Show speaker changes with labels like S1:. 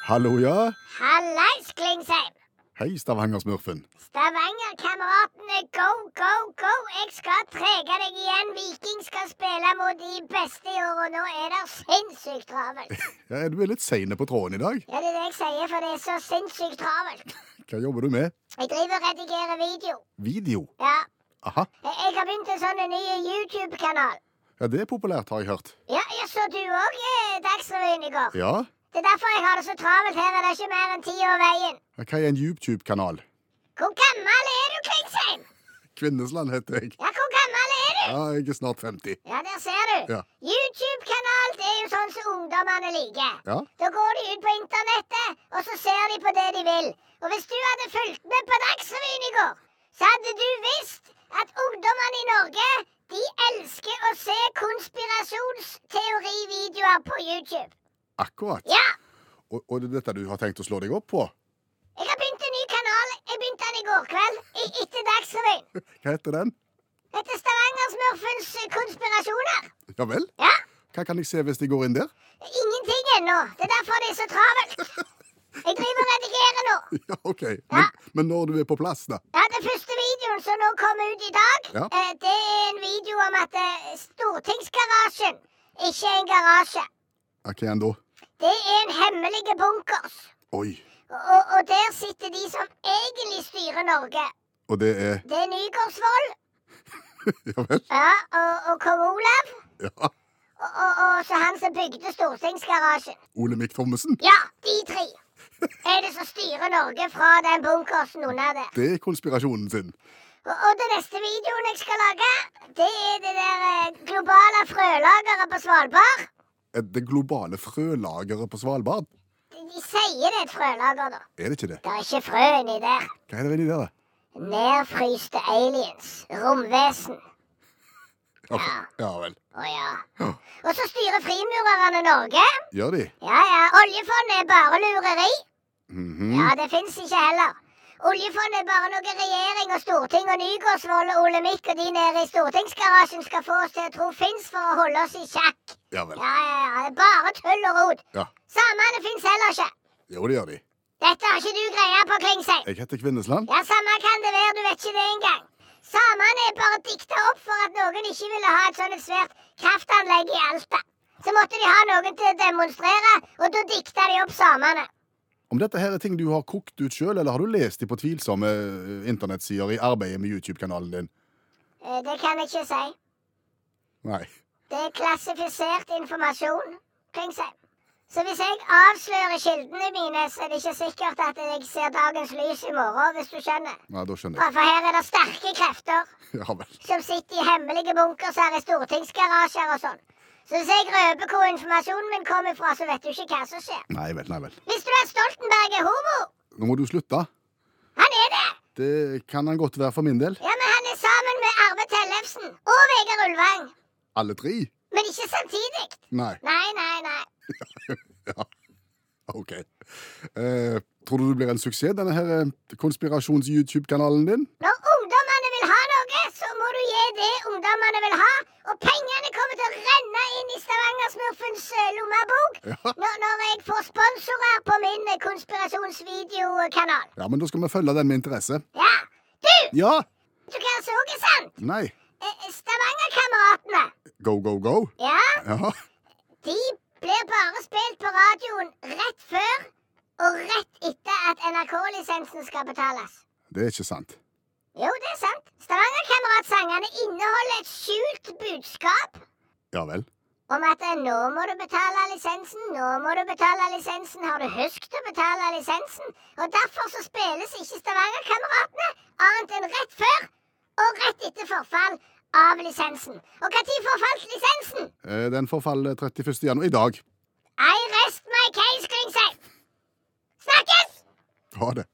S1: Hallo, ja.
S2: Hallais, Klingsheim!
S1: Hei, Stavanger-smurfen.
S2: Stavanger-kameratene, go, go, go! Jeg skal trege deg igjen. Viking skal spille mot de beste i år, og nå er det sinnssykt travelt.
S1: Ja, du er litt sein på tråden i dag.
S2: Ja, det er det jeg sier, for det er så sinnssykt travelt.
S1: Hva jobber du med?
S2: Jeg driver og redigerer video.
S1: Video.
S2: Ja.
S1: Aha.
S2: Jeg jeg har begynt en sånn ny YouTube-kanal.
S1: Ja, det er populært, har jeg hørt.
S2: Ja, ja, så du òg Dagsrevyen i går.
S1: Ja.
S2: Det er derfor jeg har det så travelt her. Er det ikke mer enn ti år veien?
S1: Hva er en YouTube-kanal?
S2: Hvor gammel er du, Klingsheim?
S1: Kvinnesland heter jeg.
S2: Ja, hvor gammel er du?
S1: Ja, jeg er snart 50.
S2: Ja, der ser du.
S1: Ja.
S2: YouTube-kanal det er jo sånn som ungdommene liker.
S1: Ja.
S2: Da går de ut på internettet, og så ser de på det de vil. Og hvis du hadde fulgt med på Dagsrevyen i går, så hadde du visst at ungdommene i Norge de elsker å se konspirasjonsteorivideoer på YouTube.
S1: Akkurat.
S2: Ja!
S1: Og, og det er dette du har tenkt å slå deg opp på?
S2: Jeg har begynt en ny kanal. Jeg begynte den i går kveld i, etter Dagsrevyen.
S1: Hva heter den?
S2: Etter Stavangersmurfens eh, konspirasjoner.
S1: Ja vel?
S2: Ja!
S1: Hva kan jeg se hvis de går inn der?
S2: Ingenting ennå. Det er derfor det er så travelt. Jeg driver og redigerer nå.
S1: Ja, OK. Men, men når du er på plass, da?
S2: Ja, Den første videoen som nå kom ut i dag,
S1: Ja.
S2: eh, det er en video om at eh, stortingsgarasjen ikke er en garasje.
S1: Ja, Hva er den da?
S2: Det er en hemmelig bunkers.
S1: Oi.
S2: Og, og der sitter de som egentlig styrer Norge.
S1: Og det er
S2: Det er Nygaardsvold
S1: Ja vel?
S2: ja, og, og kong Olav.
S1: Ja.
S2: Og, og, og så han som bygde stortingsgarasjen.
S1: Olemic Thommessen?
S2: Ja, de tre er det som styrer Norge fra den bunkersen under der.
S1: Det er konspirasjonen sin.
S2: Og, og den neste videoen jeg skal lage, det er det der eh, globale frølageret på Svalbard.
S1: Er Det globale frølageret på Svalbard?
S2: De, de sier det er et frølager, da.
S1: Er det ikke det?
S2: Det er ikke frø inni der.
S1: Hva er det inni der, da?
S2: Nedfryste aliens. Romvesen.
S1: Ja, ja vel.
S2: Å ja.
S1: Ja.
S2: Og så styrer frimurerne Norge.
S1: Gjør de?
S2: Ja ja, oljefondet er bare lureri.
S1: Mhm.
S2: Ja, det fins ikke heller. Oljefondet er bare noe regjering og storting og Nygaardsvold og Olemic og de nede i stortingsgarasjen skal få oss til å tro fins for å holde oss i sjakk.
S1: Ja vel.
S2: Ja, ja, ja. Det er bare tull og rot.
S1: Ja.
S2: Samene fins heller ikke.
S1: Jo, det gjør de.
S2: Dette har ikke du greie på, Klingsheim.
S1: Jeg heter Kvinnesland.
S2: Ja, samme kan det være, du vet ikke det engang. Samene er bare dikta opp for at noen ikke ville ha et sånn et svært kraftanlegg i Alta. Så måtte de ha noen til å demonstrere, og da dikta de opp samene.
S1: Om dette her er ting du har kokt ut sjøl, eller har du lest de på tvilsomme eh, internettsider i arbeidet med YouTube-kanalen din?
S2: Eh, Det kan jeg ikke si.
S1: Nei.
S2: Det er klassifisert informasjon, Klingsheim. Så hvis jeg avslører kildene mine, så er det ikke sikkert at jeg ser dagens lys i morgen, hvis du skjønner.
S1: Nei, da skjønner jeg.
S2: For her er det sterke krefter
S1: Ja vel.
S2: som sitter i hemmelige bunkers her i stortingsgarasjer og sånn. Så hvis jeg røper hvor informasjonen min kommer fra, så vet du ikke hva som skjer.
S1: Nei vel, nei vel.
S2: Visste du at Stoltenberg er homo?
S1: Nå må du slutte.
S2: Han er det!
S1: Det kan han godt være for min del.
S2: Ja, men han er sammen med Arve Tellefsen og Vegard Ulvang.
S1: Alle tre?
S2: Men ikke samtidig.
S1: Nei.
S2: Nei, nei, nei.
S1: OK. Eh, tror du det blir en suksess, denne her eh, konspirasjons-YouTube-kanalen din?
S2: Når ungdommene vil ha noe, så må du gi det ungdommene vil ha. Og pengene kommer til å renne inn i Stavangersmurfens eh, lommebok
S1: Ja.
S2: når, når jeg får sponsorer på min eh, konspirasjonsvideokanal.
S1: ja, men da skal vi følge den med interesse.
S2: Ja, du!
S1: Ja!
S2: Du kan så ikke sant?
S1: Nei.
S2: Eh, Stavangerkameratene,
S1: Go, go, go.
S2: ja,
S1: Ja.
S2: de blir bare spilt på radioen rett før og rett etter at NRK-lisensen skal betales.
S1: Det er ikke sant.
S2: Jo, det er sant. Stavangerkameratsangene inneholder et skjult budskap
S1: Ja vel.
S2: om at eh, nå må du betale lisensen, nå må du betale lisensen, har du husket å betale lisensen? Og derfor så spilles ikke Stavangerkameratene annet enn rett før og rett etter forfall av lisensen. Og når forfalt lisensen?
S1: Eh, Den forfaller 31. januar i dag.
S2: I rest my case, Klingsheim. Snakkes!
S1: Ha det.